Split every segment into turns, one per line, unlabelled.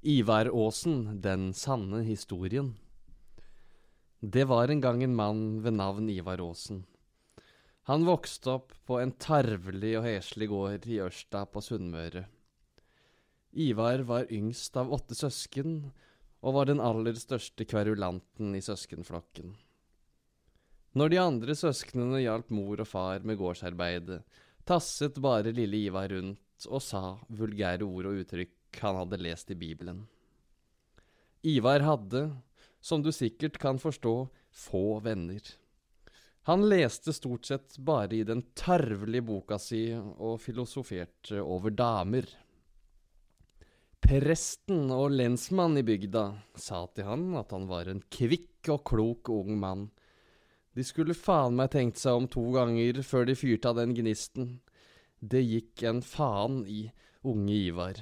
Ivar Aasen, den sanne historien. Det var en gang en mann ved navn Ivar Aasen. Han vokste opp på en tarvelig og heslig gård i Ørsta på Sunnmøre. Ivar var yngst av åtte søsken, og var den aller største kverulanten i søskenflokken. Når de andre søsknene hjalp mor og far med gårdsarbeidet, tasset bare lille Ivar rundt og sa vulgære ord og uttrykk han hadde lest i Bibelen. Ivar hadde, som du sikkert kan forstå, få venner. Han leste stort sett bare i den tarvelige boka si og filosoferte over damer. Presten og lensmann i bygda sa til han at han var en kvikk og klok ung mann. De skulle faen meg tenkt seg om to ganger før de fyrte av den gnisten. Det gikk en faen i unge Ivar.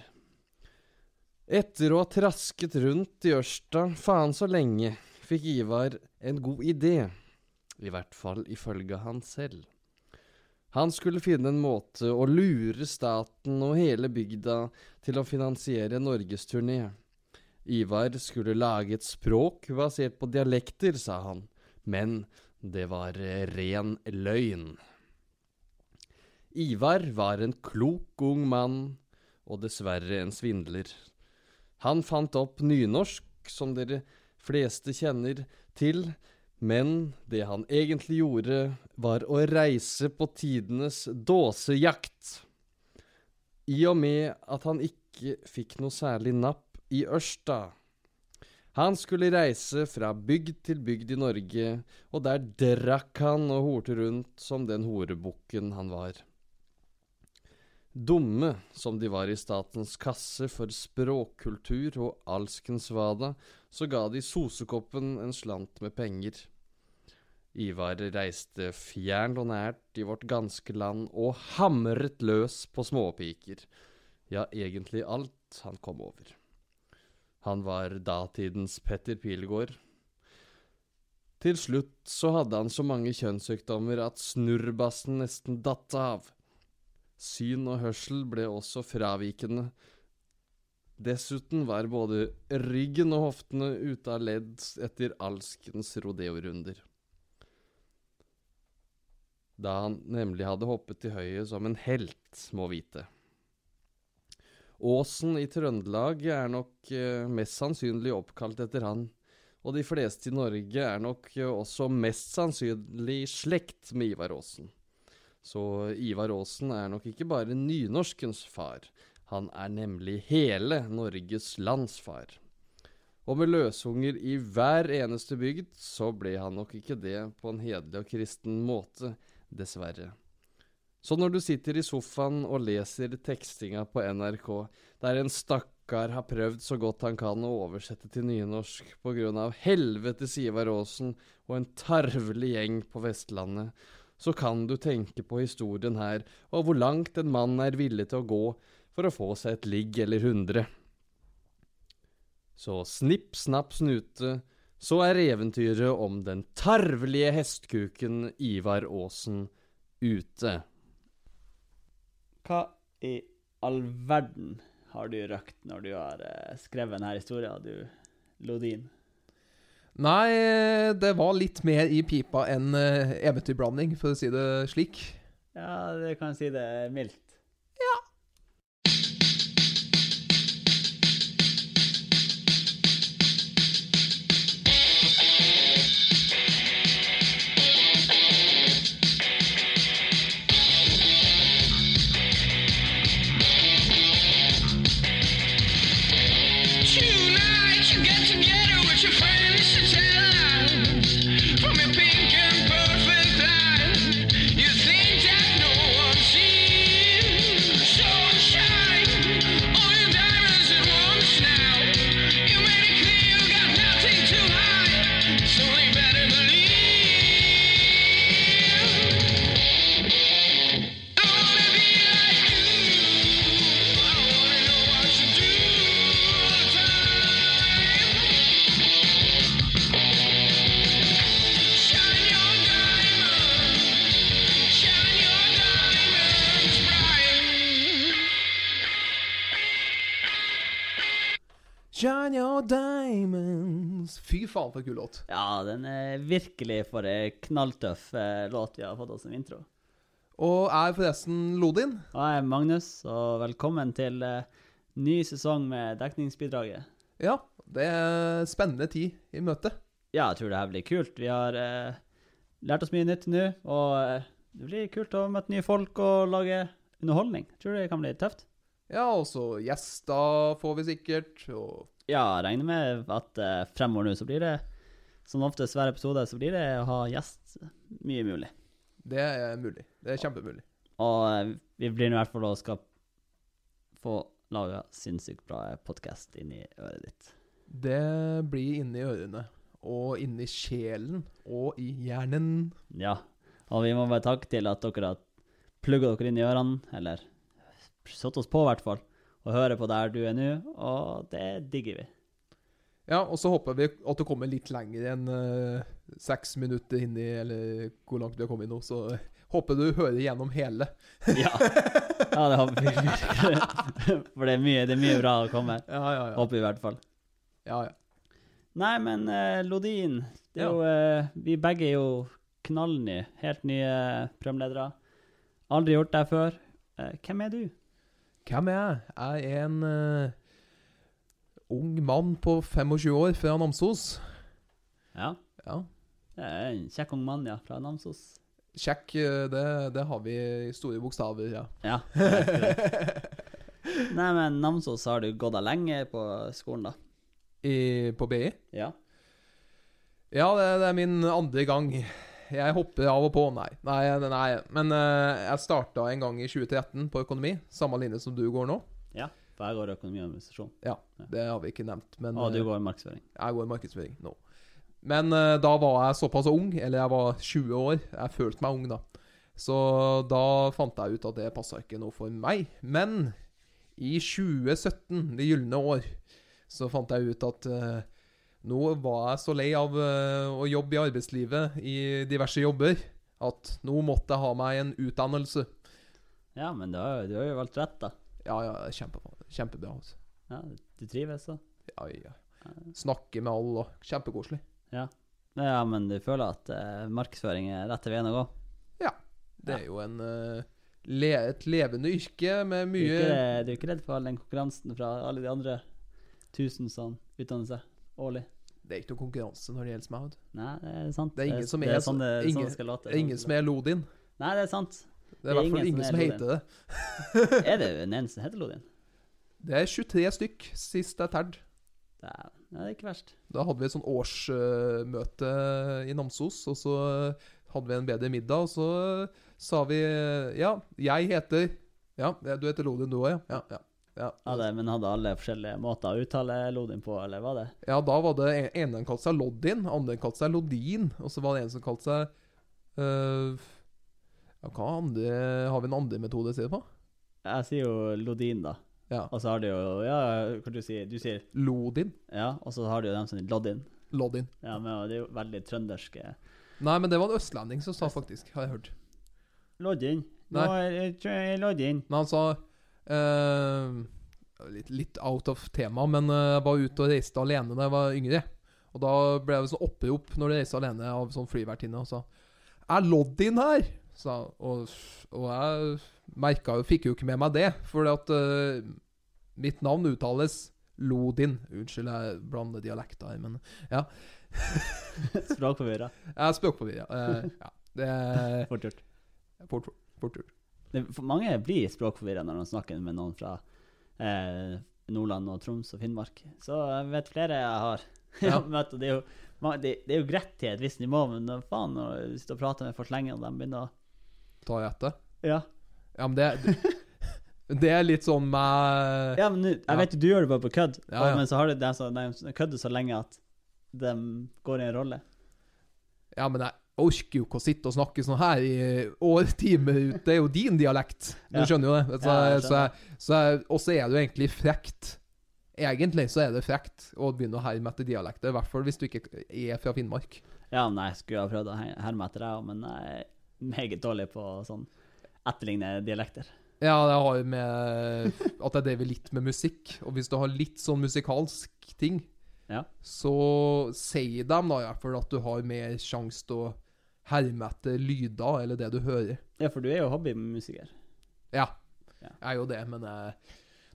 Etter å ha trasket rundt i Ørsta faen så lenge, fikk Ivar en god idé. I hvert fall ifølge han selv. Han skulle finne en måte å lure staten og hele bygda til å finansiere norgesturné. Ivar skulle lage et språk basert på dialekter, sa han, men det var eh, ren løgn. Ivar var en klok ung mann, og dessverre en svindler. Han fant opp nynorsk, som dere fleste kjenner til, men det han egentlig gjorde, var å reise på tidenes dåsejakt. I og med at han ikke fikk noe særlig napp i Ørsta. Han skulle reise fra bygd til bygd i Norge, og der drakk han og horte rundt som den horebukken han var. Dumme som de var i statens kasse for språkkultur og alskensvada, så ga de sosekoppen en slant med penger. Ivar reiste fjernt og nært i vårt ganske land og hamret løs på småpiker. Ja, egentlig alt han kom over. Han var datidens Petter Pilgaard. Til slutt så hadde han så mange kjønnssykdommer at snurrbassen nesten datt av. Syn og hørsel ble også fravikende. Dessuten var både ryggen og hoftene ute av ledd etter alskens rodeorunder. Da han nemlig hadde hoppet til høyet som en helt, må vite. Åsen i Trøndelag er nok eh, mest sannsynlig oppkalt etter han, og de fleste i Norge er nok eh, også mest sannsynlig i slekt med Ivar Aasen. Så Ivar Aasen er nok ikke bare nynorskens far, han er nemlig hele Norges landsfar. Og med løsunger i hver eneste bygd, så ble han nok ikke det på en hederlig og kristen måte, dessverre. Så når du sitter i sofaen og leser tekstinga på NRK, der en stakkar har prøvd så godt han kan å oversette til nynorsk på grunn av helvetes Ivar Aasen og en tarvelig gjeng på Vestlandet, så kan du tenke på historien her, og hvor langt en mann er villig til å gå for å få seg et ligg eller hundre. Så snipp, snapp, snute, så er eventyret om den tarvelige hestkuken Ivar Aasen ute.
Hva i all verden har du røkt når du har eh, skrevet denne historien, du Lodin?
Nei, eh, det var litt mer i pipa enn eh, eventyrblanding, for å si det slik.
Ja, du kan si det er mildt.
Tonight you get together with your friends to tell lies from your pink and perfect line. You think that no one sees
Shine your diamonds. Fy faen, for en kul låt.
Ja, den er virkelig for ei knalltøff eh, låt vi har fått oss som intro.
Og er forresten Lodin.
Og jeg er Magnus, og velkommen til eh, ny sesong med dekningsbidraget.
Ja, det er spennende tid i møte.
Ja, jeg tror det her blir kult. Vi har eh, lært oss mye nytt nå, og eh, det blir kult å møte nye folk og lage underholdning. Jeg tror det kan bli tøft.
Ja, og så gjester får vi sikkert. Og
Ja, jeg regner med at eh, fremover nå så blir det, som oftest hver episode, så blir det å ha gjest mye mulig.
det er mulig. Det er kjempemulig.
Og eh, vi blir nå i hvert fall å skal få laga sinnssykt bra podkast inni øret ditt.
Det blir inni ørene. Og inni sjelen. Og i hjernen.
Ja. Og vi må bare takke til at dere har plugga dere inn i ørene, eller satt oss på, i hvert fall, og hører på der du er nå, og det digger vi.
Ja, og så håper vi at du kommer litt lenger enn eh, seks minutter inni, eller hvor langt du har kommet nå. Så håper du hører gjennom hele.
Ja, ja det håper vi virkelig. For det er mye, det er mye bra å komme her.
Ja, ja, ja.
Håper vi i hvert fall.
ja, ja.
Nei, men eh, Lodin det er
Ja.
jo, eh, Vi begge er jo knallny, helt nye eh, programledere. Aldri gjort det før. Eh, hvem er du?
Hvem er jeg? Jeg er en eh, ung mann på 25 år fra Namsos.
Ja,
Ja.
det er en kjekk ung mann, ja, fra Namsos.
Sjekk, eh, det, det har vi i store bokstaver, ja.
Ja. greit, greit. Nei, men Namsos har du gått der lenge på skolen, da.
I, på BI.
Ja.
Ja, det, det er min andre gang. Jeg hopper av og på, nei. Nei, nei. Men eh, jeg starta en gang i 2013 på økonomi, samme linje som du går nå.
ja. For jeg går økonomi og administrasjon.
Ja,
Ja.
det har vi ikke nevnt, men
Og du
eh,
går markedsføring.
jeg går i markedsføring nå. Men eh, da var jeg såpass ung, eller jeg var 20 år, jeg følte meg ung da. Så da fant jeg ut at det passa ikke noe for meg. Men i 2017, det gylne år, så fant jeg ut at eh, nå var jeg så lei av eh, å jobbe i arbeidslivet i diverse jobber at nå måtte jeg ha meg en utdannelse.
Ja, men du har, jo- du har jo valgt rett, da.
Ja, ja, kjempebra. kjempebra altså.
Ja, du trives, da.
ja, ja. Snakke med alle, og kjempekoselig.
Nei, Ja, men du føler at eh, markedsføring er rett til veien å gå?
Det er jo en, eh, le, et levende yrke med
Du er,
mye
ikke, redd- du er ikke redd for all den konkurransen fra alle de andre tusen som utdanner seg årlig?
Det er ikke noe konkurranse når det gjelder Smaud.
Nei, det er sant.
Det er ingen som
det
er
er sånn det, det er sånn
ingen-
det skal låte.
Det er ingen som er Lodin.
Nei, det er sant.
Det er i hvert fall ingen som
Lodin.
heter det.
Er det en eneste som heter Lodin?
Det er 23 stykk sist jeg tærte.
Det er, nei, det er ikke verst.
Da hadde vi et sånn årsmøte eh, i Namsos, og så eh, hadde vi en bedre middag, og så eh, sa vi eh, Ja, jeg heter Ja, ja, du heter Lodin du òg, ja. Ja, ja.
Ja,
ja.
det, men hadde alle forskjellige måter å uttale Lodin på, eller var det?
ja da var det en- ene som kalte seg Loddin, andre kalte seg Lodin, og så var det en som kalte seg øh, ja, Hva andre Har vi en andre metode å si det på?
Jeg sier jo Lodin, da.
Ja.
Og så har du jo Ja, hva du sier du? sier
Lodin.
Ja, og så har du jo dem som sier Loddin.
Loddin.
Ja, men det er jo veldig eh, trønderske
Nei, men det var en østlending som sa faktisk, har jeg hørt.
Loddin. Nå
Nei.
er jeg tror jeg er Loddin.
Men han sa eh, litt, litt out of tema, men eh, jeg var ute og reiste alene da jeg var yngre. Og da ble det sånn opprop når jeg reiste alene av sånn flyvertinne og sa Er Loddin her? Sa, han, og, og jeg merka jo Fikk jo ikke med meg det, fordi at eh, mitt navn uttales Lodin. Unnskyld, jeg blander dialekter her, men
Språkforvirra.
jeg er språkforvirra. Eh, ja, det er
Fort gjort.
fort, fort gjort.
Det, for mange blir språkforvirra når de snakker med noen fra eh, Nordland og Troms og Finnmark. Så jeg vet flere jeg har
Ja.
møtt, og det er, jo, ma- det, det er jo greit til et visst nivå, men når faen, når du sitter og prater med folk lenge, og de begynner å
Tar jeg etter?
Ja,
Ja, men det Det er litt sånn med
ja men nu, jeg
Ja.
vet jo du gjør det bare på kødd,
Ja,
og-
ja.
men så har du dem som de kødder så lenge at de går i en rolle.
Ja, men jeg orker jo ikke å sitte og snakke sånn her i årtimer ut. Det er jo din dialekt. Du
Ja.
skjønner jo det. Så,
Ja, jeg
så, jeg- så, jeg- og så er det jo egentlig frekt. Egentlig så er det frekt å begynne å herme etter dialekter, i hvert fall hvis du ikke er fra Finnmark.
Ja, men jeg skulle ha prøvd å he- herme etter deg òg, men jeg er meget dårlig på å sånn etterligne dialekter.
Ja, det har jo med at jeg driver litt med musikk. Og hvis du har litt sånn musikalsk ting,
Ja.
så sier de da i hvert fall at du har mer sjanse til å herme etter lyder eller det du hører.
Ja, for du er jo hobbymusiker.
Ja,
Ja.
jeg er jo det, men eh,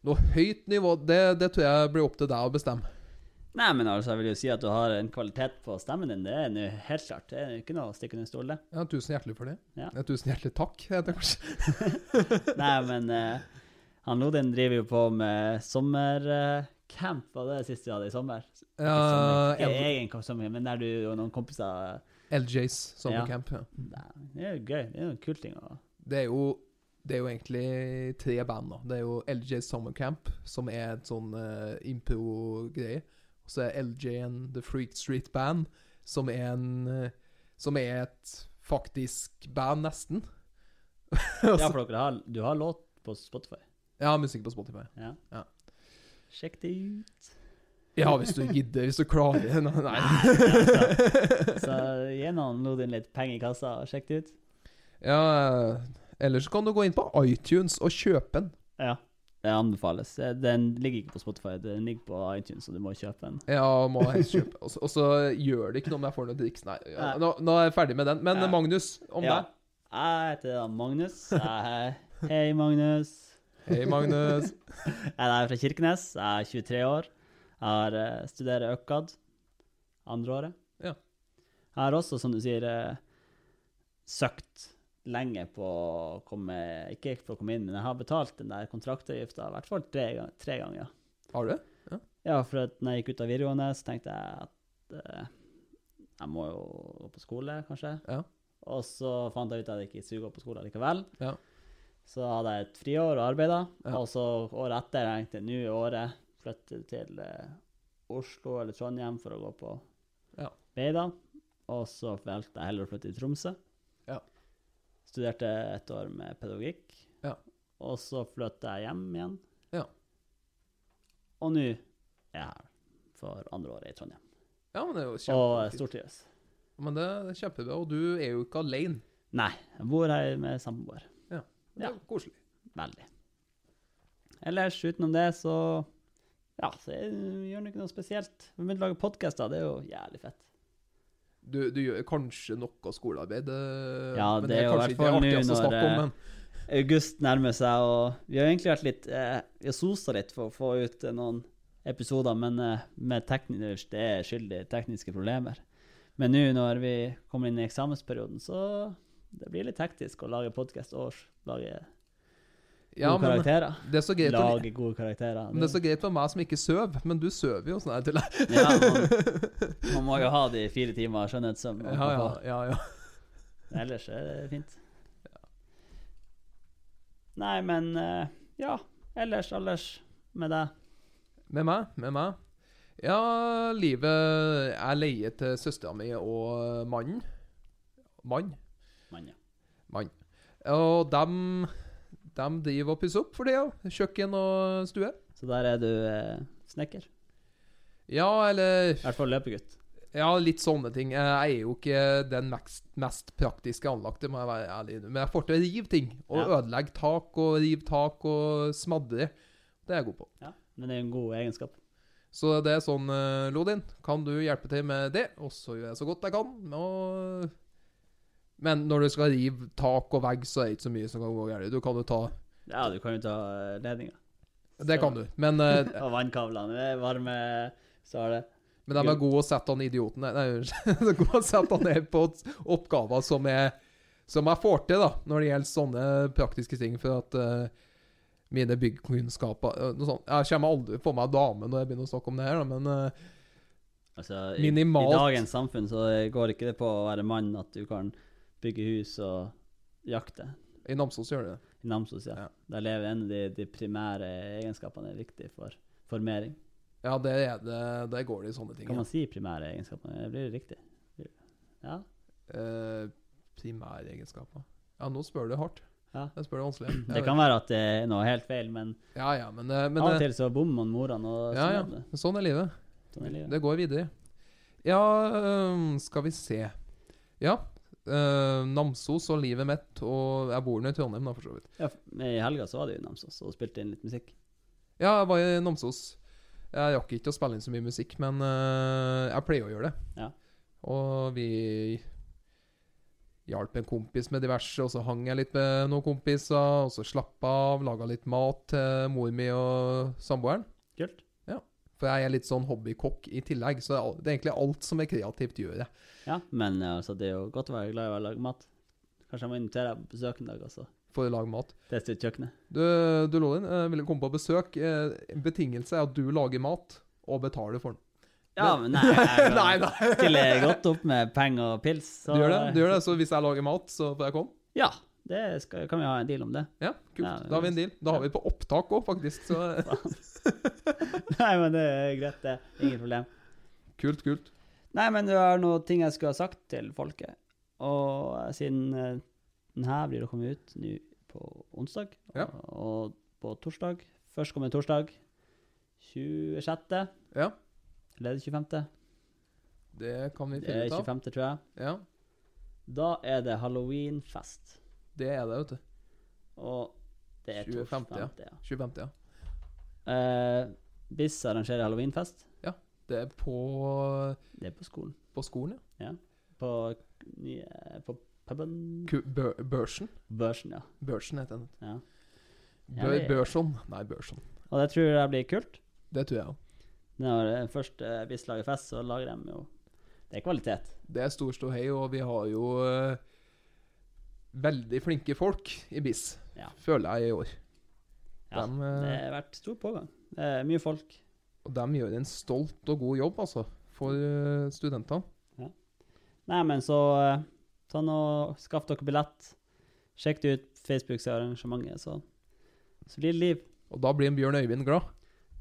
noe høyt nivå, det, det tror jeg blir opp til deg å bestemme.
Nei, men altså, jeg vil jo si at du har en kvalitet på stemmen din. Det er nå helt klart. Det er ikke noe å stikke under stol, det.
Ja, tusen hjertelig for det.
Ja.
Tusen hjertelig takk, heter det kanskje.
Nei, men eh, han Lodin driver jo på med sommercamp, var det siste vi hadde i sommer?
Ja,
Ikke
L-
egen kamp sommer, men der du og noen kompiser
LJs sommercamp. Ja.
Nei, Det er jo gøy. Det er jo en kul ting å
Det er jo det er jo egentlig tre band. da. Det er jo LJ Summer Camp, som er et sånn eh, impro-greie. Og så er LJ and The Freak Street Band, som er en eh, Som er et faktisk band, nesten. Altså-
Ja, for dere har, du har låt på Spotify.
Ja, musikk på Spotify.
Ja.
Ja.
Sjekk det ut.
Ja, hvis du gidder, hvis du klarer. Nei. nei.
altså. Så gi noen Lodin litt penger i kassa og sjekk det ut.
Ja, eh, ellers kan du gå inn på iTunes og kjøpe den.
Ja. Det anbefales. Den ligger ikke på Spotify, den ligger på iTunes, så du må kjøpe den.
Ja, må helst kjøpe. Og så- Og så gjør det ikke noe om jeg får noe driks. Nei, ja,
Nei.
nå, nå er jeg ferdig med den. Men
Ja.
Magnus, om
ja.
deg.
Jeg heter da Magnus. Jeg, hei, Magnus.
Hei, Magnus.
Jeg er fra Kirkenes. Jeg er 23 år. Jeg har, eh, studerer ØKAD andre året.
Ja.
Jeg har også, som du sier, eh, søkt lenge på å komme Ikke for å komme inn, men jeg har betalt den der kontraktavgifta i hvert fall tre, gang- tre ganger.
Har du?
Ja, for at når jeg gikk ut av videregående, så tenkte jeg at eh, jeg må jo gå på skole, kanskje.
Ja.
Og så fant jeg ut at jeg ikke suger på skole likevel.
Ja.
Så hadde jeg et friår og arbeida,
Ja.
og så året etter tenkte jeg nå i året flytte til eh, Oslo eller Trondheim for å gå på
Ja.
Beida. Og så valgte jeg heller å flytte til Tromsø.
Ja.
Studerte et år med pedagogikk.
Ja.
Og så flytta jeg hjem igjen.
Ja.
Og nå er jeg her for andre året i Trondheim.
Ja, men det er jo
Og eh,
kjempefint.
stortrives.
Men det er kjempebra, og du er jo ikke alene.
Nei, jeg bor her med samboer.
Det er
Ja.
koselig.
Veldig. Ellers, utenom det, så ja, så jeg gjør nå ikke noe spesielt. Vi begynte å lage podkaster, det er jo jævlig fett.
Du, du gjør kanskje noe skolearbeid, eh,
Ja,
men
det er jo
kanskje
i hvert fall
ikke det
nå
artigste å
når,
snakke
eh,
om, men
August nærmer seg, og vi har egentlig vært litt eh, Vi har sosa litt for å få ut eh, noen episoder, men eh, med teknisk, det er skyldig tekniske problemer. Men nå når vi kommer inn i eksamensperioden, så det blir litt hektisk å lage podkast og lage gode
ja, men
karakterer.
det er så greit for,
Lage gode karakterer.
men det er så greit for meg som ikke sover, men du sover jo sånn her til deg.
ja, man, man må jo ha de fire timer skjønnhetssøvn. man
Ja,
kan
ja,
få.
ja, ja.
Ellers er det fint. Nei, men eh, ja. Ellers, ellers med deg.
Med meg, med meg. Ja, livet er leie til søstera mi og mannen. Mann?
Mann, ja.
Mann. Og dem, dem driver og pusser opp for det, ja. Kjøkken og stue.
Så der er du eh, snekker.
Ja, eller
I hvert fall løpegutt.
Ja, litt sånne ting. Jeg er jo ikke den mest, mest praktiske anlagte, må jeg være ærlig. Men jeg får til å rive ting. Og
Ja.
ødelegge tak, og rive tak, og smadre. Det er jeg god på.
Ja. Men det er jo en god egenskap.
Så det er sånn, eh, Lodin, kan du hjelpe til med det? Og så gjør jeg så godt jeg kan. Og... Men når du skal rive tak og vegg, så er det ikke så mye som kan gå galt. Du kan jo ta
Ja, du kan jo ta eh, ledninga.
Det kan du. Men, eh,
Og vannkavlene. Det er varme Så har det
men de er gode å sette han idioten Nei, unnskyld. De er gode å sette han ned på oppgaver som jeg, som jeg får til, da, når det gjelder sånne praktiske ting. For at eh, mine byggkunnskaper eh, noe sånt. Jeg kommer aldri på meg dame når jeg begynner å snakke om det her, da, men eh,
altså, i,
Minimalt.
I dagens samfunn så går ikke det på å være mann at du kan bygge hus og jakte.
i Namsos gjør det det.
I Namsos, ja.
Ja.
Der lever en av de, de primære egenskapene er viktig for formering.
Ja, det er det. Der går det i sånne ting.
Kan
ja.
man si primære egenskapene? Det blir riktig. Ja.
Eh, primæregenskaper. Ja, nå spør du hardt.
Ja.
Jeg spør det vanskelig. Jeg
Det
vet.
kan være at det er noe helt feil, men,
Ja, ja, men, eh, men
av og
eh,
til så bommer man morene, og sånn
ja,
er det.
ja. sånn er livet.
Sånn er livet.
Det går videre. Ja, øhm, skal vi se. Ja, eh, Namsos og livet mitt, og jeg bor nå i Trondheim, da, for så vidt.
Ja, men I helga så var det jo i Namsos og spilte inn litt musikk.
Ja, jeg var i Namsos. Jeg rakk ikke å spille inn så mye musikk, men eh, jeg pleier å gjøre det.
Ja.
Og vi hjalp en kompis med diverse, og så hang jeg litt med noen kompiser, og så slappa av, laga litt mat til mor mi og samboeren.
Kult.
For jeg er litt sånn hobbykokk i tillegg, så det er al- det er egentlig alt som er kreativt, gjør jeg.
Ja, men eh, altså, det er jo godt å være glad i å lage mat. Kanskje jeg må invitere deg på besøk en dag også.
For å lage mat.
Teste ut kjøkkenet.
Du, du Lorin, eh, ville komme på besøk. Eh, en betingelse er at du lager mat, og betaler for den.
Ja, men nei, jeg
Nei,
kan
nei.
stille godt opp med penger og pils.
Du gjør det, du gjør det, så hvis jeg lager mat, så får jeg komme?
Ja, eh, det skal, kan vi ha en deal om det.
Ja, kult.
Ja,
da har vi en deal. Da har vi på opptak òg, faktisk. Så
Nei, men det er greit, det. Ingen problem.
kult, kult.
Nei, men det er noen ting jeg skulle ha sagt til folket. Og eh, siden eh, den her blir å komme ut nå på onsdag,
Ja.
og, og på torsdag Førstkommende torsdag 26.
Ja,
Eller er det 25.?
det kan vi
Det er
finne ut av.
25., tror jeg.
Ja,
Da er det halloweenfest.
det er det, vet du.
Og det er
25., ja.
25., ja.
25. ja.
Eh, Biss arrangerer halloweenfest.
Det er på,
Det er på skolen.
på skolen, ja.
På, nye- på puben
Ku- Bø børsen.
Børsen, ja.
Børsen heter den.
ja.
Bø
Ja, det-
børson. Nei, børson.
Og det tror jeg blir kult.
Det tror jeg òg.
Når eh, først eh, Biss lager fest, så lager de jo Det er kvalitet.
Det er stor ståhei, og vi har jo eh, veldig flinke folk i BIS,
Ja.
føler jeg, i år.
Ja,
Dem,
Det
eh,
har vært stor pågang. Det er mye folk.
og de gjør en stolt og god jobb, altså, for eh, studentene.
Nei, men så eh, ta nå, skaff dere billett. Sjekk det ut Facebooks arrangementet, så, så blir det liv.
Og da blir en Bjørn Øyvind glad.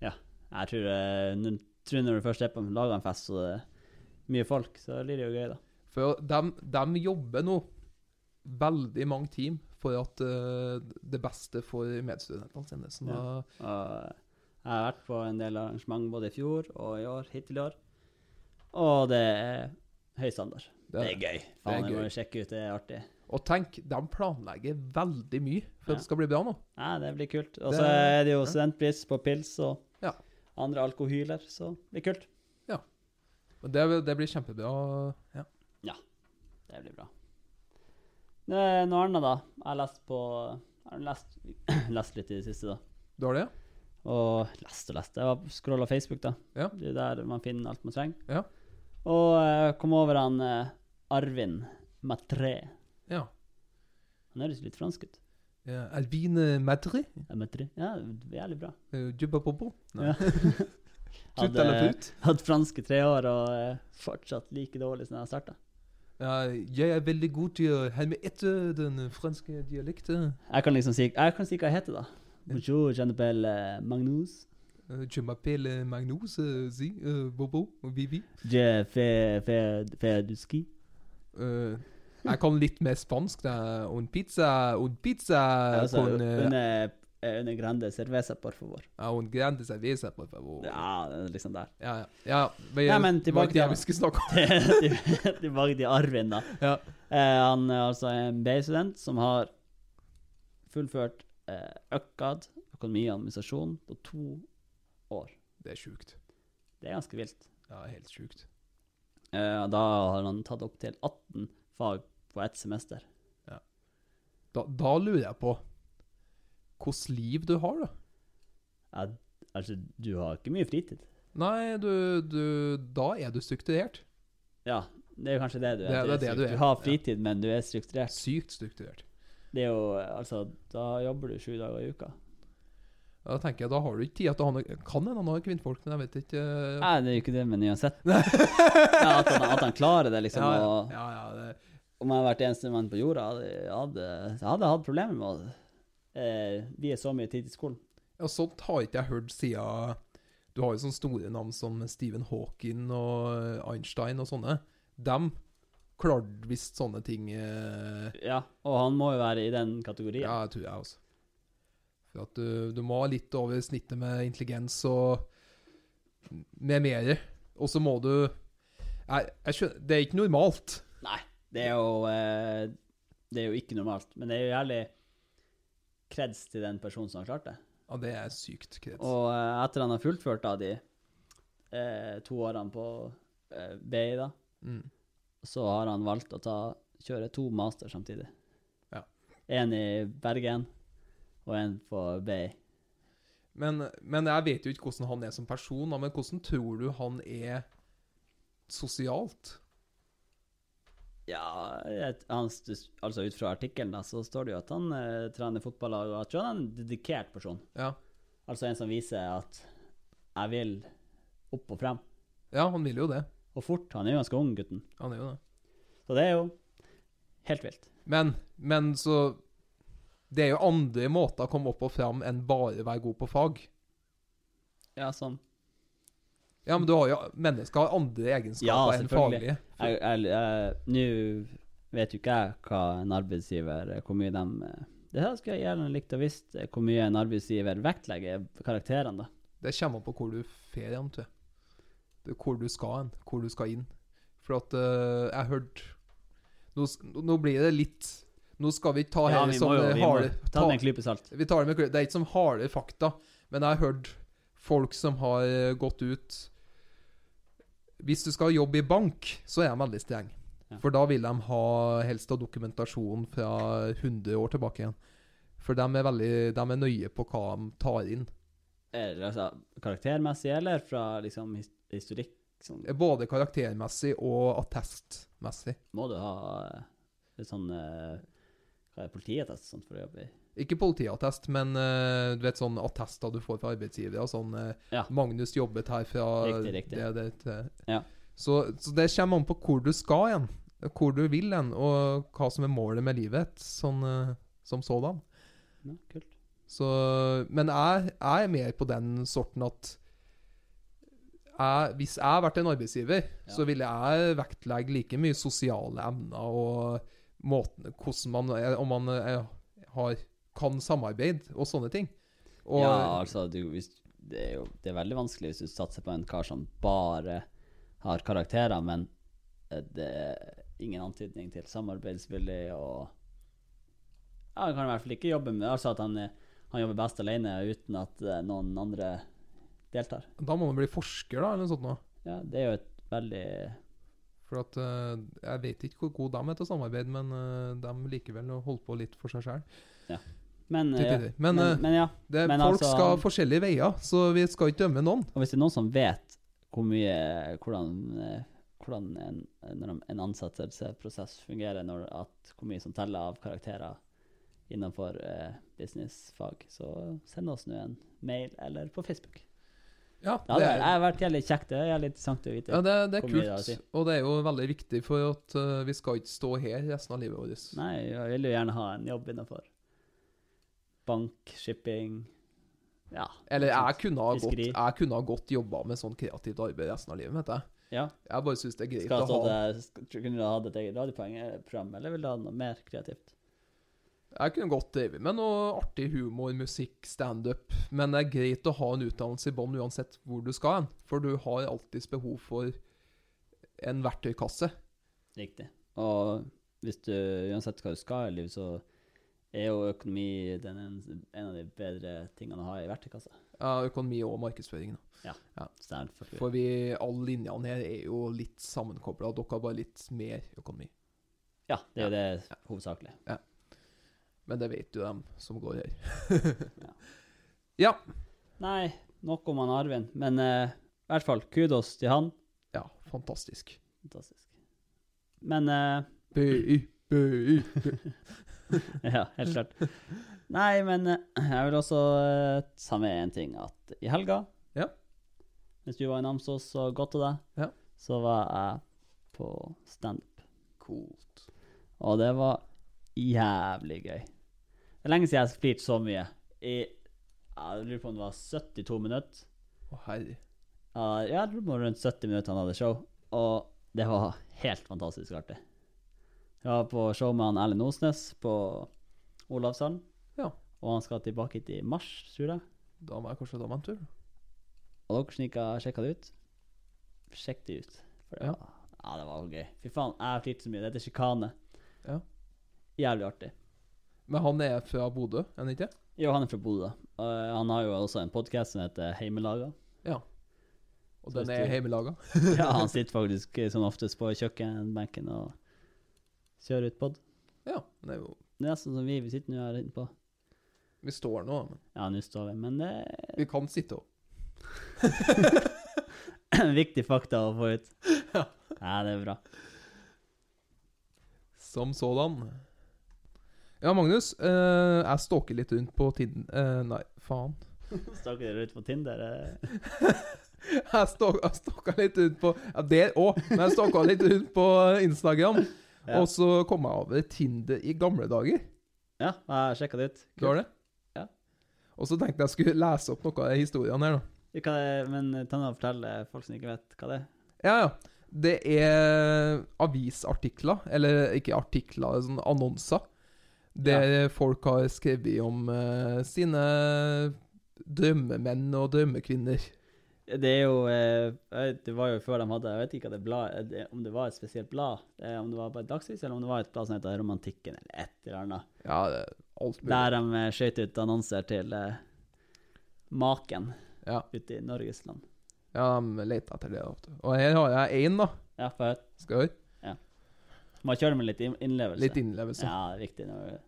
Jeg tror, eh, n- tror når du først er på laget en fest, så det er mye folk, så blir det jo gøy, da.
For de, jobber nå veldig mange team for at eh, det beste for medstudentene sine. Så da,
Og eh, jeg har vært på en del arrangement både i fjor og i år, hittil i år. Og det er høy standard. Det er gøy. Faen, det
gøy.
må vi sjekke ut, det er artig.
Og tenk, de planlegger veldig mye
Ja.
for at det skal bli bra nå.
Nei, det blir kult. Og så
Det-
er det jo
ja.
studentpris på pils og
Ja.
andre alkohyler, så det blir kult.
Men det, det blir kjempebra. Ja.
Det blir bra. Det er noe annet, da. Jeg har lest på Jeg har lest, lest litt i det siste, da.
Du har det?
Og lest og lest. Jeg scrolla Facebook, da.
Ja.
Det er der man finner alt man trenger.
Ja.
Og jeg kom over han eh, Arvin Matré.
Ja.
Han høres litt fransk ut.
ja. Alvine Madri?
Eh, Matré. Ja, det er jævlig bra.
Eh, Jubba Bobo? Nei.
Ja.
Tut eller tut?
Hatt fransk i tre år og eh, fortsatt like dårlig som jeg starta.
Ja, jeg er veldig god til å hermeette den franske dialekten.
Jeg kan liksom si Jeg kan si hva jeg heter, da. Bonjour, Janabel Magnus.
Eh, Je m'appelle Magnus, eh, si, eh, Bobo, Vivi.
Je fe, fe, fe du ski.
Eh, jeg kan litt mer spansk. Det er un pizza, un pizza
Altså,
con, eh,
under, under grande cerveza, por favor.
ja, un grande cerveza, por favor. Ja,
Ja, det er liksom der.
ja. ja, men,
Ja, men
det var
tilbake
ikke
til-
det vi skulle snakke om.
Tilbake til Arvin, da.
Ja.
Eh, han er altså en BI-student som har fullført eh, ØKAD, økonomi og administrasjon, på to år.
Det er sjukt.
Det er ganske vilt.
Ja, helt sjukt.
Eh, og da har han tatt opp til 18 fag på ett semester.
Da, da lurer jeg på hvordan liv du har, da.
Ja, altså, du har ikke mye fritid.
Nei, du, du Da er du strukturert.
Ja, det er kanskje det du er.
Det- det er det du er.
Du har fritid, men du er strukturert.
Sykt strukturert.
Det er jo, altså, da jobber du sju dager i uka.
Ja, Da tenker jeg, da har du ikke tid til å ha noe Kan hende han har kvinnfolk, men jeg vet ikke. eh,
Nei, det er jo ikke det, men uansett. Ja, at, han, at han klarer det, liksom.
ja, ja,
Og,
ja, ja, det,
om jeg hadde vært eneste mann på jorda, hadde jeg hadde, jeg hadde hatt problemer med å eh, vie så mye tid til skolen.
ja, sånt har ikke jeg hørt siden Du har jo sånne store navn som Stephen Hawking og eh, Einstein og sånne. Dem klarte visst sånne ting eh,
Ja, og han må jo være i den kategorien.
Ja, jeg tror jeg også. For at du, du må ha litt over snittet med intelligens og med mere. Og så må du jeg, jeg skjønner, Det er ikke normalt.
Nei, Det er jo, eh, det er jo ikke normalt, men det er jo jævlig kreds til den personen som har klart det.
Ja, det er sykt krets.
Og eh, etter han har fullført da de eh, to årene på eh, BI, da,
Mm.
så har han valgt å ta, kjøre to master samtidig.
Ja.
En i Bergen og en på BI.
Men, men jeg vet jo ikke hvordan han er som person, da, men hvordan tror du han er sosialt?
Ja, et, han, stus- altså ut fra artikkelen da, så står det jo at han eh, trener fotballag, og jeg tror han er en dedikert person.
Ja,
Altså en som viser at jeg vil opp og frem.
ja han vil jo det.
Og fort. Han er jo ganske ung, gutten.
Han er jo det.
Så det er jo helt vilt.
Men, men så Det er jo andre måter å komme opp og fram enn bare være god på fag.
Ja, sånn.
Ja, men du har jo Mennesker har andre
Ja,
egenskaper enn
selvfølgelig.
faglige.
Jeg- jeg- jeg- Nå vet jo ikke jeg hva en arbeidsgiver Hvor mye de eh, Det her skulle jeg gjerne likt å visst eh, hvor mye en arbeidsgiver vektlegger karakterene, da.
Det kommer an på hvor du fer hen, tror jeg. Det- Hvor du skal hen, hvor du skal inn. For at eh, jeg hørte nå, s- nå blir det litt Nå skal vi ikke ta
Ja,
her
vi
som
må jo
eh,
vi
harde
må ta det med en klype salt.
Vi tar det med klype. Det er ikke som harde fakta, men jeg har hørt folk som har eh, gått ut Hvis du skal jobbe i bank, så er de veldig streng.
Ja.
For da vil de ha helst av dokumentasjon fra 100 år tilbake igjen. For de er, veldig, de er nøye på hva de tar inn.
Er det altså karaktermessig, eller fra liksom his- historikk? Sånn,
Både karaktermessig og attestmessig.
må du ha eh, litt sånn eh, Hva er det, politiattest og sånt for å jobbe i?
Ikke politiattest, men eh, du vet sånne attester du får fra arbeidsgivere. og Sånn eh,
Ja.
'Magnus jobbet her fra
Riktig, riktig.
det, det, det.
Ja.
Så, så det kommer an på hvor du skal hen, hvor du vil hen, og hva som er målet med livet ditt sånn, eh, som sådan.
Ja, kult.
Så, men jeg, jeg er mer på den sorten at jeg, hvis jeg har vært en arbeidsgiver,
Ja.
så ville jeg vektlegge like mye sosiale emner og måten, hvordan man er, om man er, har, kan samarbeide og sånne ting. Og,
ja, altså, du, hvis, det er jo det er veldig vanskelig hvis du satser på en kar som bare har karakterer, men eh, det er ingen antydning til samarbeidsvillig og Ja, han kan i hvert fall ikke jobbe med Altså at han, er- han jobber best alene uten at eh, noen andre deltar.
Da må man bli forsker, da, eller noe sånt. Nå.
Ja, det er jo et veldig
For at, eh, jeg vet ikke hvor gode de er til å samarbeide, men eh, de likevel holder på litt for seg sjøl.
Men,
Til
eh,
tider. Men, eh,
men, men ja.
Folk
Men altså,
skal
han-
forskjellige veier, så vi skal ikke dømme noen.
Og hvis det er noen som vet hvor mye hvordan, eh, hvordan en, når de- en ansettelsesprosess fungerer, når at, hvor mye som teller av karakterer innenfor eh, businessfag, så send oss nå en mail eller på Facebook.
Ja,
Det hadde, det hadde vært jævlig kjekt. Det er jævlig interessant å vite.
Ja, det, det er
Hvor mye det har å
kult,
si.
og det er jo veldig viktig for at eh, vi skal ikke stå her resten av livet vårt.
Nei, jeg vil jo gjerne ha en jobb innenfor bank, shipping Ja.
Eller jeg
sånt.
kunne ha godt,
Fiskeri.
jeg kunne ha godt jobba med sånn kreativt arbeid resten av livet, vet jeg.
Ja.
Jeg bare syns det er greit
Skal jeg
å
stå
ha
der, sk- Kunne du hatt et eget radioprogram, eller vil du ha noe mer kreativt?
Jeg kunne godt drevet med noe artig humor, musikk, standup, men det er greit å ha en utdannelse i bånn uansett hvor du skal hen, for du har alltids behov for en verktøykasse.
Riktig. Og hvis du, uansett hva du skal i livet, så er jo økonomi den en, en av de bedre tingene å ha i verktøykassa.
Ja, økonomi og markedsføring. da.
Så det er en forklur.
For vi, alle linjene her er jo litt sammenkobla, dere har bare litt mer økonomi.
Ja, det er jo det hovedsakelig.
Men det vet jo dem som går her.
Nei, nok om han Arvin, men eh, i hvert fall kudos til han.
Ja, fantastisk.
Fantastisk. Men eh,
Bøy, bøy.
Ja, helt klart. Nei, men eh, jeg vil også eh, ta med en ting. At i helga,
Ja.
mens du var i Namsos og godt til deg,
Ja.
så var jeg på standup.
Kult.
Og det var jævlig gøy. Det er lenge siden jeg har flirt så mye. I jeg lurer på om det var 72 minutter.
Å herre.
Ja, jeg tror det var rundt 70 minutter han hadde show, og det var helt fantastisk artig. Jeg var på show med han Erlend Osnes på Olavshallen,
Ja.
og han skal tilbake hit i mars, tror jeg.
Da må jeg kanskje ta meg en tur.
Og dere som ikke har sjekka det ut, sjekk det ut. For det
Ja.
var Ja, det var jo gøy. Fy faen, jeg har flirt så mye. Det heter sjikane.
Ja.
Jævlig artig.
Men han er fra Bodø, er han ikke?
Jo, han er fra Bodø. og eh, Han har jo også en podkast som heter Heimelaga.
Ja. Og
Så
den
hvis
er
du-
hjemmelaga.
Ja, han sitter faktisk eh, som oftest på kjøkkenbenken og kjører ut pod.
Ja. Den er jo
Det er sånn som vi, vi sitter nå her inne på.
Vi står nå, men
Ja, nå står vi. Men det
vi kan sitte òg.
er en viktig fakta å få ut.
Ja.
Ja, det er bra.
Som sådan. Ja, Magnus. eh, jeg stalker litt rundt på Tinder eh, Nei, faen.
Stakk dere ut på Tinder? eh?
Jeg stalk- jeg stalka litt rundt på ja, Der òg, men jeg stalka litt rundt på Instagram.
Ja.
Og så kom jeg over Tinder i gamle dager.
Ja, jeg sjekka det ut.
Du har det?
Ja.
Og så tenkte jeg skulle lese opp noe av historiene her, da.
Du kan, eh, men ta nå og fortelle folk som ikke vet hva det er.
Ja, ja. Det er avisartikler, eller ikke artikler, sånn annonser, der folk har skrevet om eh, sine drømmemenn og drømmekvinner.
Det er jo eh, jeg vet- Det var jo før de hadde Jeg vet ikke hva det blad, eh, det- om det var et spesielt blad. eh, Om det var bare Dagsvis, eller om det var et blad som heter Romantikken, eller et eller annet.
Ja, det er alt mulig.
Der de eh, skjøt ut annonser til eh, maken
Ja.
ute i Norges land.
Ja, de leter etter det. ofte. Og her har jeg én, da.
Ja, for jeg
Skal jeg høre?
må kjøre med litt in- innlevelse.
Litt innlevelse.
Ja, det er viktig. Når,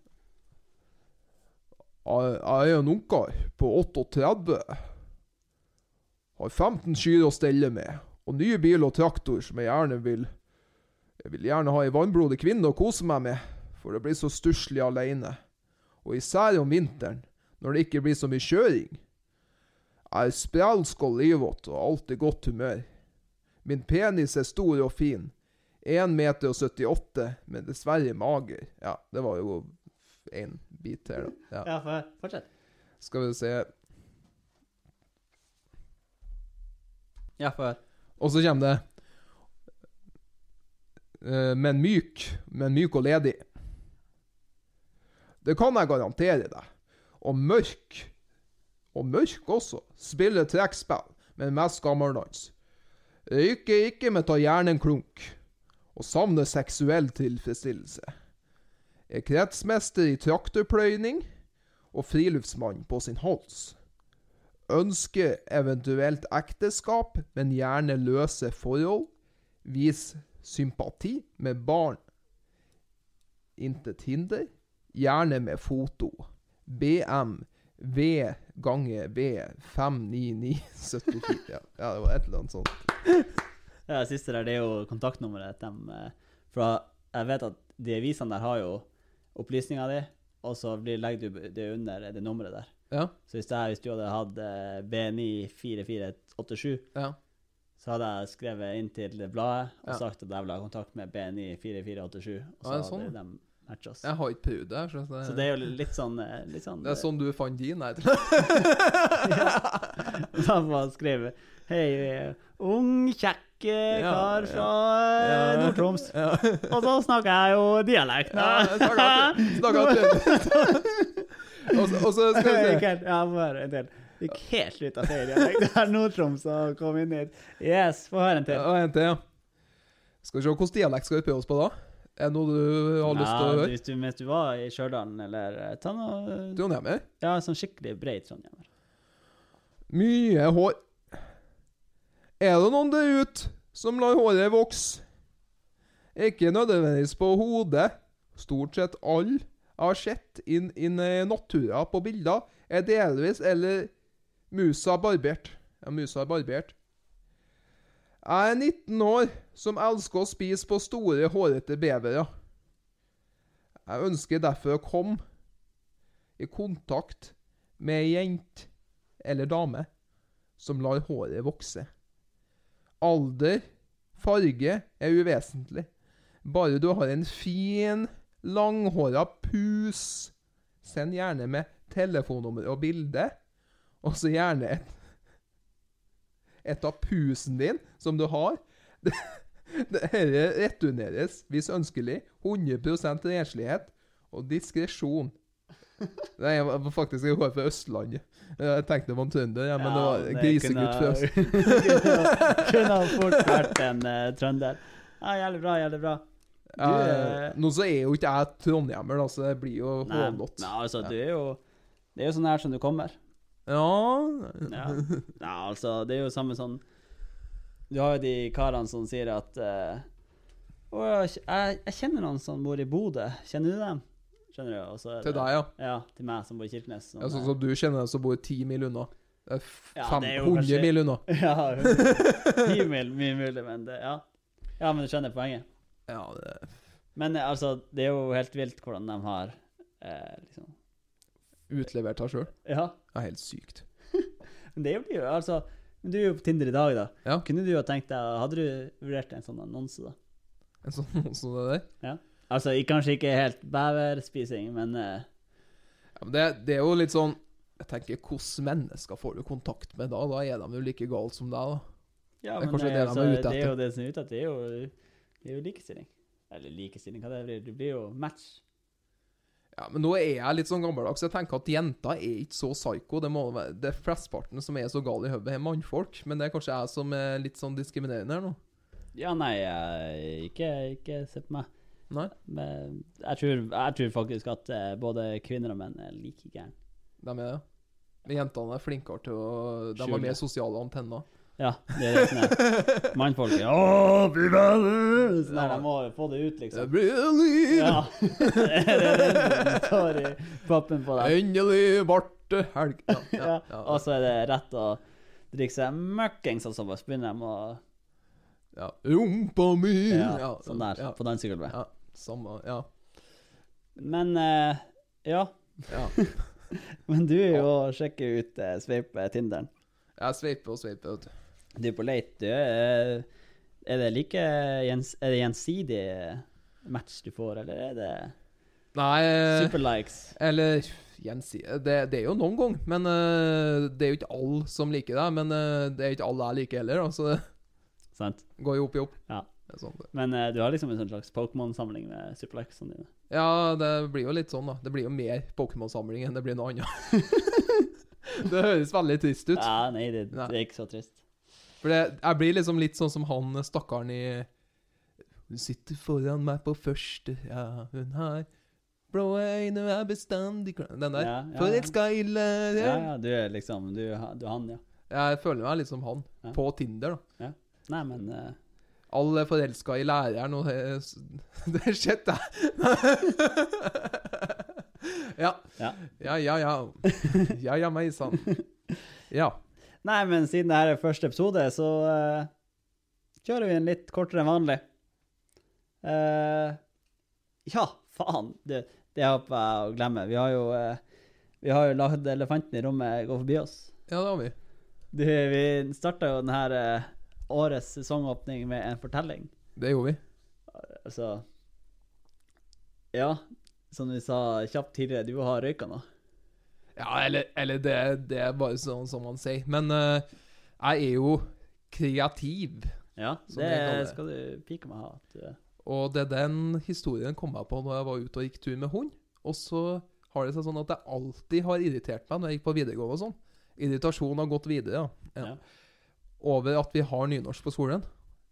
Jeg er en ungkar på 38. Har 15 kyr å stelle med, og nye bil og traktor som jeg gjerne vil Jeg vil gjerne ha ei varmblodig kvinne å kose meg med, for det blir så stusslig aleine. Og især om vinteren, når det ikke blir så mye kjøring. Jeg er sprelsk og livåt og har alltid godt humør. Min penis er stor og fin. 1 meter og 78, men dessverre mager. Ja, det var jo én bit her, da. Ja.
ja, for fortsett.
Skal vi se
Ja, for
Og så kommer det eh, Men myk, men myk og ledig. Det kan jeg garantere deg. Og mørk. Og mørk også. Spiller trekkspill, men mest gammeldans. Røyker ikke, men tar gjerne en klunk. Og savner seksuell tilfredsstillelse. Er kretsmester i traktorpløyning og friluftsmann på sin hals. Ønsker eventuelt ekteskap, men gjerne løse forhold. Vis sympati med barn. Intet hinder. Gjerne med foto. BM V gange V 59974. Ja, ja, det var et eller annet sånt.
Ja, det siste der, det er jo kontaktnummeret til dem. eh, For jeg vet at de avisene der har jo opplysninga di, og så blir, legger du det under det nummeret der.
Ja,
Så hvis, det her, hvis du hadde hatt eh, B94487,
ja.
så hadde jeg skrevet inn til det bladet og
Ja.
sagt at jeg ville ha kontakt med B94487, og så
Ja, det er sånn,
hadde de matcha oss.
Jeg har ikke prøvd det. her, Så det,
Så det er jo litt sånn, eh, litt sånn
det er sånn du fant din? Nei,
eh, Da må han skrive Hei, eh, ung, kjekk eh,
Ja,
kar fra eh,
Ja.
Nord-Troms. Og så snakker jeg jo dialekt.
Ja, snakk av Snakk av Og så- og så skal vi se.
Ikke helt, ja, bare en del. Gikk helt ut av ferie. Det er Nord-Troms som kom inn hit. Yes, få høre en til.
Ja, en til, ja. Skal vi se hvilken dialekt skal vi prøve oss på da? Er det noe du har lyst til å
Ja,
høre?
hvis du, mens du var i Stjørdal, eller eh, ta noe eh,
Trondheimer?
Ja, sånn skikkelig brei trondhjemmer.
Mye hår. Er det noen der ute som lar håret vokse? Ikke nødvendigvis på hodet. Stort sett alle jeg har sett inn inn i natura på bilder, er delvis eller musa barbert. Ja, musa er barbert. Jeg er 19 år, som elsker å spise på store, hårete bevere. Jeg ønsker derfor å komme i kontakt med ei jente eller dame som lar håret vokse. Alder, farge er uvesentlig. Bare du har en fin, langhåra pus. Send gjerne med telefonnummer og bilde, og så gjerne et, et av pusen din som du har. Dette returneres, hvis ønskelig, 100 renslighet og diskresjon. Nei, jeg var faktisk jeg var fra Østlandet. Jeg tenkte det var en trønder, ja, men det var grisegutt fra Øst.
kunne, kunne ha fort vært en eh, trønder. Ja, jævlig bra, jævlig bra. Du,
Eh,
eh,
Nå så er jo ikke jeg trondhjemmer, da, så det blir jo
Nei,
hånlått.
nei, altså, du er jo Det er jo sånn her som du kommer.
Ja
Ja. Nei, altså, det er jo samme sånn Du har jo de karene som sier at eh, Å, jeg, jeg kjenner noen som bor i Bodø. Kjenner du dem? Skjønner du? Og så er
Til
det-
deg, ja.
Ja, til meg som bor i Kirkenes.
ja sånn som du kjenner som bor ti mil unna. Det er f-
Ja,
fem-
det er jo
100
kanskje-
mil unna.
Ja, mye, mul- mye mulig, men det Ja. ja, men du skjønner poenget.
Ja, det,
Men eh, altså, det er jo helt vilt hvordan de har eh, liksom
utlevert deg sjøl.
Ja.
Det er helt sykt.
Men det blir jo altså men Du er jo på Tinder i dag, da.
Ja.
Kunne du ha tenkt deg Hadde du vurdert en sånn annonse, da?
En sånn som det der.
Altså ik- kanskje ikke helt beverspising, men eh,
Ja, men det, det er jo litt sånn Jeg tenker, Hvilke mennesker får du kontakt med da? Da er de jo like gale som deg, da.
ja,
Det er
men,
kanskje
eh,
det de
altså,
er ute
Det er
etter.
jo det som er ute etter. Det er jo, det er jo likestilling. Eller likestilling, hva det blir. Det blir jo match.
Ja, Men nå er jeg litt sånn gammeldags. Jeg tenker at jenter er ikke så psyko. Det, må være, det er flesteparten som er så gale i hodet, er mannfolk. Men det er kanskje jeg som er litt sånn diskriminerende her nå.
Ja, nei, eh, ikke, ikke se på meg.
Nei?
Men jeg tror, jeg tror faktisk at eh, både kvinner og menn er like gærne.
De er det. Men jentene er flinkere til å De
Skjule.
har mer sosiale antenner.
Ja, det er det som er Mannfolket Åh, bli venner! Sånn der, de må jo få det ut, liksom.
Really?
Ja. det er det som står i pappen på deg.
Endelig ble det helg. Ja, ja,
Ja,
ja,
og så er det rett å drikke seg møkkings, og så bare begynner de å
ja. Rumpa mi
ja,
Mm, Ja,
Sånn der,
Ja,
på dansegulvet.
ja, samme Ja.
Men eh, ja.
ja.
Men du er jo sjekker ut eh, sveipe Tinderen.
Jeg sveiper og sveiper, vet du.
Du er på leit, du. Er, er det like gjens, Er det gjensidig eh, match du får, eller er det
Nei,
superlikes?
eller gjensi... Det, det er jo noen gang, men eh, det er jo ikke alle som liker deg. Men eh, det er ikke alle jeg liker heller, da, så det
Sant?
går jo opp i opp.
Ja.
Det er sånn det.
Men eh, du har liksom en sånn slags Pokémon-samling med sånn, superlikesene dine.
Ja, det blir jo litt sånn, da. Det blir jo mer Pokémon-samling enn det blir noe annet. det høres veldig trist ut.
Ja, nei, det, det
Nei.
er ikke så trist.
For det, jeg blir liksom litt sånn som han eh, stakkaren i Hun sitter foran meg på første, ja, hun har blå øyne, er bestandig glad Den der.
Ja, ja, ja.
Forelska i lærer.
Ja, ja, du er liksom Du, ha- du er han, ja.
Jeg føler meg litt som han,
Ja.
på Tinder, da.
Nei, men eh,
Alle forelska i læreren og det, det er shit, det. ja.
Ja.
Ja, ja, ja. Ja, ja, meg sann. Ja.
Nei, men siden dette er første episode, så eh, kjører vi en litt kortere enn vanlig. Eh, ja, faen! Det, det håper jeg å glemme. Vi har jo eh, Vi har jo lagd elefanten i rommet gå forbi oss.
Ja, det har vi.
Du, vi starta jo denne årets sesongåpning med en fortelling.
Det gjorde vi.
Altså Ja, som vi sa kjapt tidligere, du har røyka nå.
Ja, eller, eller det, det er bare sånn som man sier. Men eh, jeg er jo kreativ,
Ja,
Som
det
jeg kaller det.
skal du pike meg ha. At eh, du er.
og det er den historien kom jeg på når jeg var ute og gikk tur med hund. Og så har det seg sånn at det alltid har irritert meg når jeg gikk på videregående og sånn. Irritasjonen har gått videre, ja. ja.
Ja.
Over at vi har nynorsk på skolen.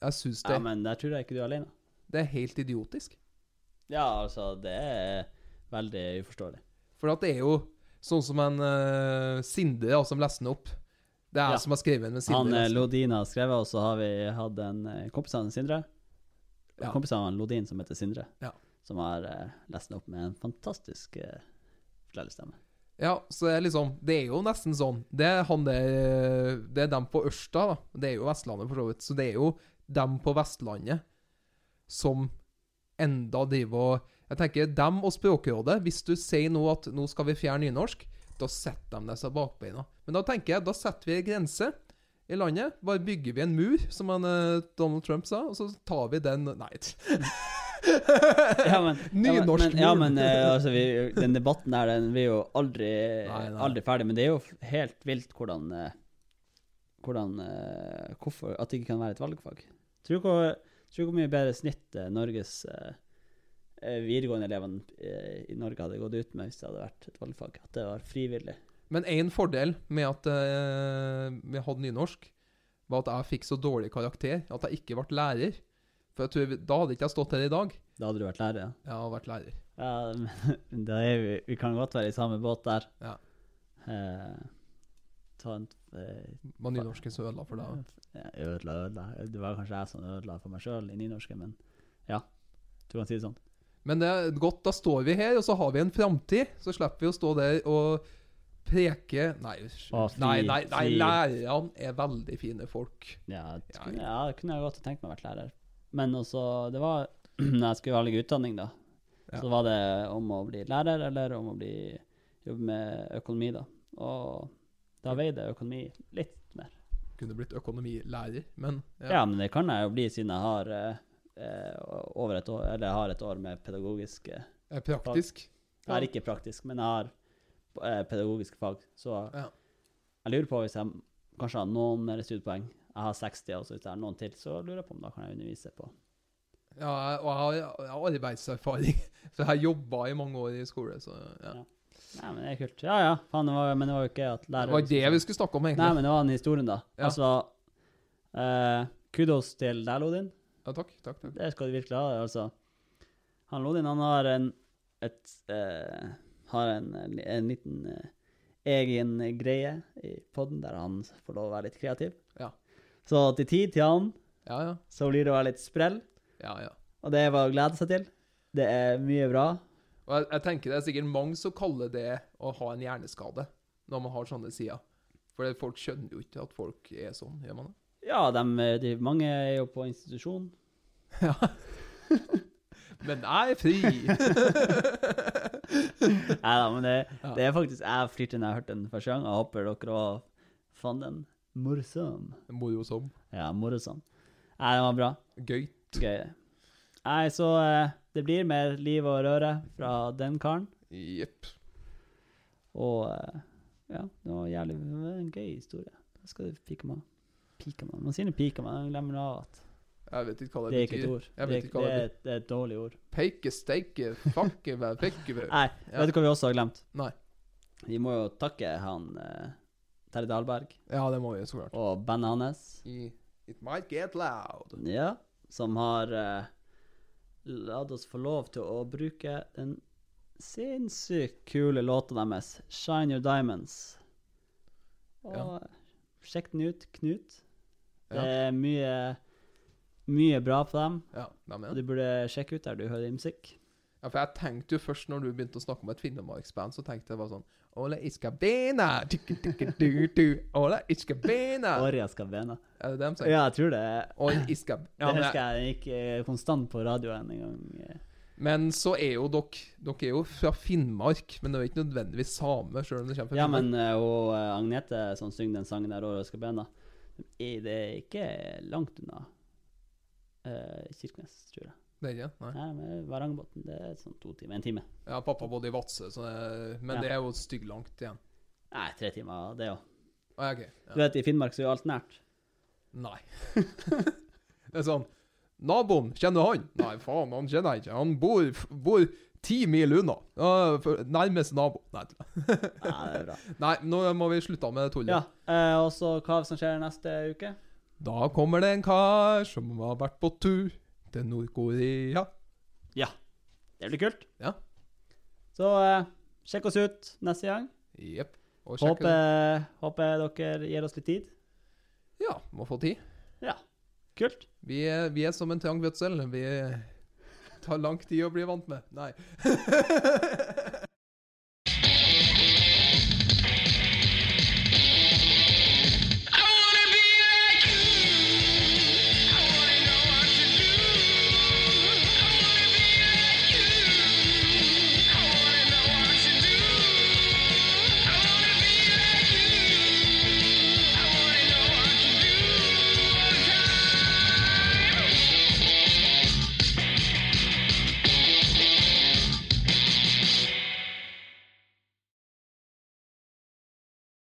Jeg syns det,
Ja, men der tror jeg ikke du er alene.
det er helt idiotisk.
Ja, altså, det er veldig uforståelig.
For at det er jo sånn som en uh, Sindre ja, som leser den opp. Det er
Ja.
jeg som har skrevet den med Sindre. altså.
Han eh,
leser.
Lodin har skrevet, og så har vi hatt en eh, kompis av han, Sindre.
Ja.
Kompis av han Lodin som heter Sindre,
Ja.
som har eh, lest den opp med en fantastisk eh, fortellerstemme.
Ja, så det er liksom Det er jo nesten sånn. Det er han der Det er dem på Ørsta, da. Det er jo Vestlandet, for så vidt. Så det er jo dem på Vestlandet som enda driver og Jeg tenker dem og Språkrådet. Hvis du sier nå at nå skal vi fjerne nynorsk, da setter de seg bakbeina. Men da tenker jeg, da setter vi en grense i landet. Bare bygger vi en mur, som han, eh, Donald Trump sa, og så tar vi den Nei.
Ja, men, ja,
Nynorsk
men, ja,
mul.
men eh, altså, vi, den debatten der den blir jo aldri,
Nei, nei.
aldri ferdig. Men det er jo f- helt vilt hvordan, eh, hvordan eh, Hvorfor at det ikke kan være et valgfag. Tror du hvor, tror du hvor mye bedre snitt eh, Norges eh, eh, videregående elevene eh, i Norge hadde gått ut med hvis det hadde vært et valgfag? At det var frivillig?
Men én fordel med at eh, vi hadde nynorsk, var at jeg fikk så dårlig karakter at jeg ikke ble lærer. For jeg tror, vi- Da hadde ikke jeg stått her i dag.
Da hadde du vært lærer, ja.
Jeg har vært lærer.
ja men da er vi, vi kan godt være i samme båt der.
Ja.
Eh, ta en eh,
Var nynorsken så ødela for deg? også.
ja, Ødela, ødela. Det var kanskje jeg som ødela for meg sjøl i nynorsken, men ja. Du kan si det sånn.
Men det er godt, da står vi her, og så har vi en framtid. Så slipper vi å stå der og preke Nei,
Å, fy,
nei, nei, nei
fy.
lærerne er veldig fine folk.
Ja, det
Ja,
kunne, ja, det kunne jeg godt tenkt meg å vært lærer. Men også, det var Når jeg skulle velge utdanning, da,
Ja.
så var det om å bli lærer eller om å bli jobbe med økonomi, da. Og da veide økonomi litt mer.
Kunne blitt økonomilærer, men
Ja. men det kan jeg jo bli siden jeg har eh, eh, over et år, eller jeg har et år med pedagogisk eh,
er praktisk.
Jeg har ikke praktisk, men jeg har eh, pedagogiske fag. Så
Ja.
jeg lurer på hvis jeg kanskje har noen mer studiepoeng. Jeg har 60, og så hvis jeg har noen til, så lurer jeg på om da kan jeg undervise på
Ja, jeg- og jeg har, jeg har arbeidserfaring, for jeg har jobba i mange år i skole. Så ja.
Ja. Nei, men det er kult. Ja, ja. Faen, det var, men det var jo ikke at
Det
lærere
var det vi skulle snakke om, egentlig.
Nei, men det var den historien, da.
Ja.
Altså eh, Kudos til deg, Lodin.
Ja, takk, takk, takk.
Det skal du virkelig ha. altså. Han Lodin han har en et, eh, har en, en liten eh, egen greie i poden der han får lov å være litt kreativ.
Ja.
Så til tid til han
Ja, ja.
så blir det å være litt sprell,
ja, ja.
og det er bare å glede seg til. Det er mye bra.
Og jeg, jeg tenker det er sikkert mange som kaller det å ha en hjerneskade, når man har sånne sider. For det- folk skjønner jo ikke at folk er sånn, gjør man det?
Ja, dem, eh, de, mange er jo på institusjon.
Men jeg er fri!
Nei da, men det,
Ja.
det er faktisk Jeg flirte når jeg hørte den første gang. Jeg håper dere òg fant den. Morsom.
Morosom.
Ja, morsom. Nei, den var bra.
Gøy.
Gøy. Nei, så eh, det blir mer liv og røre fra den karen.
Jepp.
Og eh, ja, det var jævlig det var en gøy historie. Da skal du pike meg. Pike meg. Man sier det pike meg, men glemmer av at
Jeg vet ikke
det
hva
er
det
ikke et
betyr.
ord. Det
Jeg
er,
vet ikke
ikke- det
hva
er,
det betyr.
et- det er et dårlig ord.
Peike, steike, fakke, vær pekke, vær.
Nei, vet du hva vi også har glemt?
Nei.
Vi må jo takke han eh, Terje Dahlberg
Ja, det må vi så klart.
og bandet hans.
I, it might get loud.
Ja, som har eh, latt oss få lov til å bruke den sinnssykt kule låta deres, 'Shine Your Diamonds'. Og
Ja.
sjekk den ut, Knut. Det
Ja.
er mye, mye bra på dem,
Ja, nei, men.
og du burde sjekke ut der du hører musikk.
Ja, for jeg tenkte jo først når du begynte å snakke om et Finnmarksband, så tenkte jeg bare sånn Ole Iskabena, tikki tikki du du, Ole Iskabena.
Aria Skavena.
Er det det de sier?
Ja, jeg tror det.
Ole Iskab... Ja,
det
men,
husker jeg gikk eh, konstant på radioen en gang. eh.
men så er jo dere Dere er jo fra Finnmark, men det er jo ikke nødvendigvis samer, sjøl om det kommer fra
Ja,
Finnmark.
men eh, og eh, Agnete som synger den sangen der, Åra skal bena, i- det er ikke langt unna eh, Kirkenes, tror jeg.
Det er ikke, nei.
Nei, men Varangerbotn, det er sånn to timer, en time.
Ja, pappa bodde i Vadsø, så det, men
Ja.
det er jo stygg langt igjen.
Nei, tre timer, det òg.
Å, ja, ok.
Du
Ja.
vet, i Finnmark så er jo alt nært.
Nei. det er sånn Naboen, kjenner han? Nei, faen, han kjenner jeg ikke. Han bor, bor ti mil unna. Ja, for- Nærmest nabo. Nei, tull.
Nei, det er bra.
Nei, nå må vi slutte med det tullet.
Ja, eh, og så hva som skjer neste uke?
Da kommer det en kar som har vært på tur til Nord-Korea.
Ja, det blir kult.
Ja.
Så eh, sjekk oss ut neste gang.
Jepp. Og sjekk-
Håper, håper dere gir oss litt tid.
Ja, må få tid.
Ja, kult.
Vi er, vi er som en trang fødsel. Vi tar lang tid å bli vant med. Nei.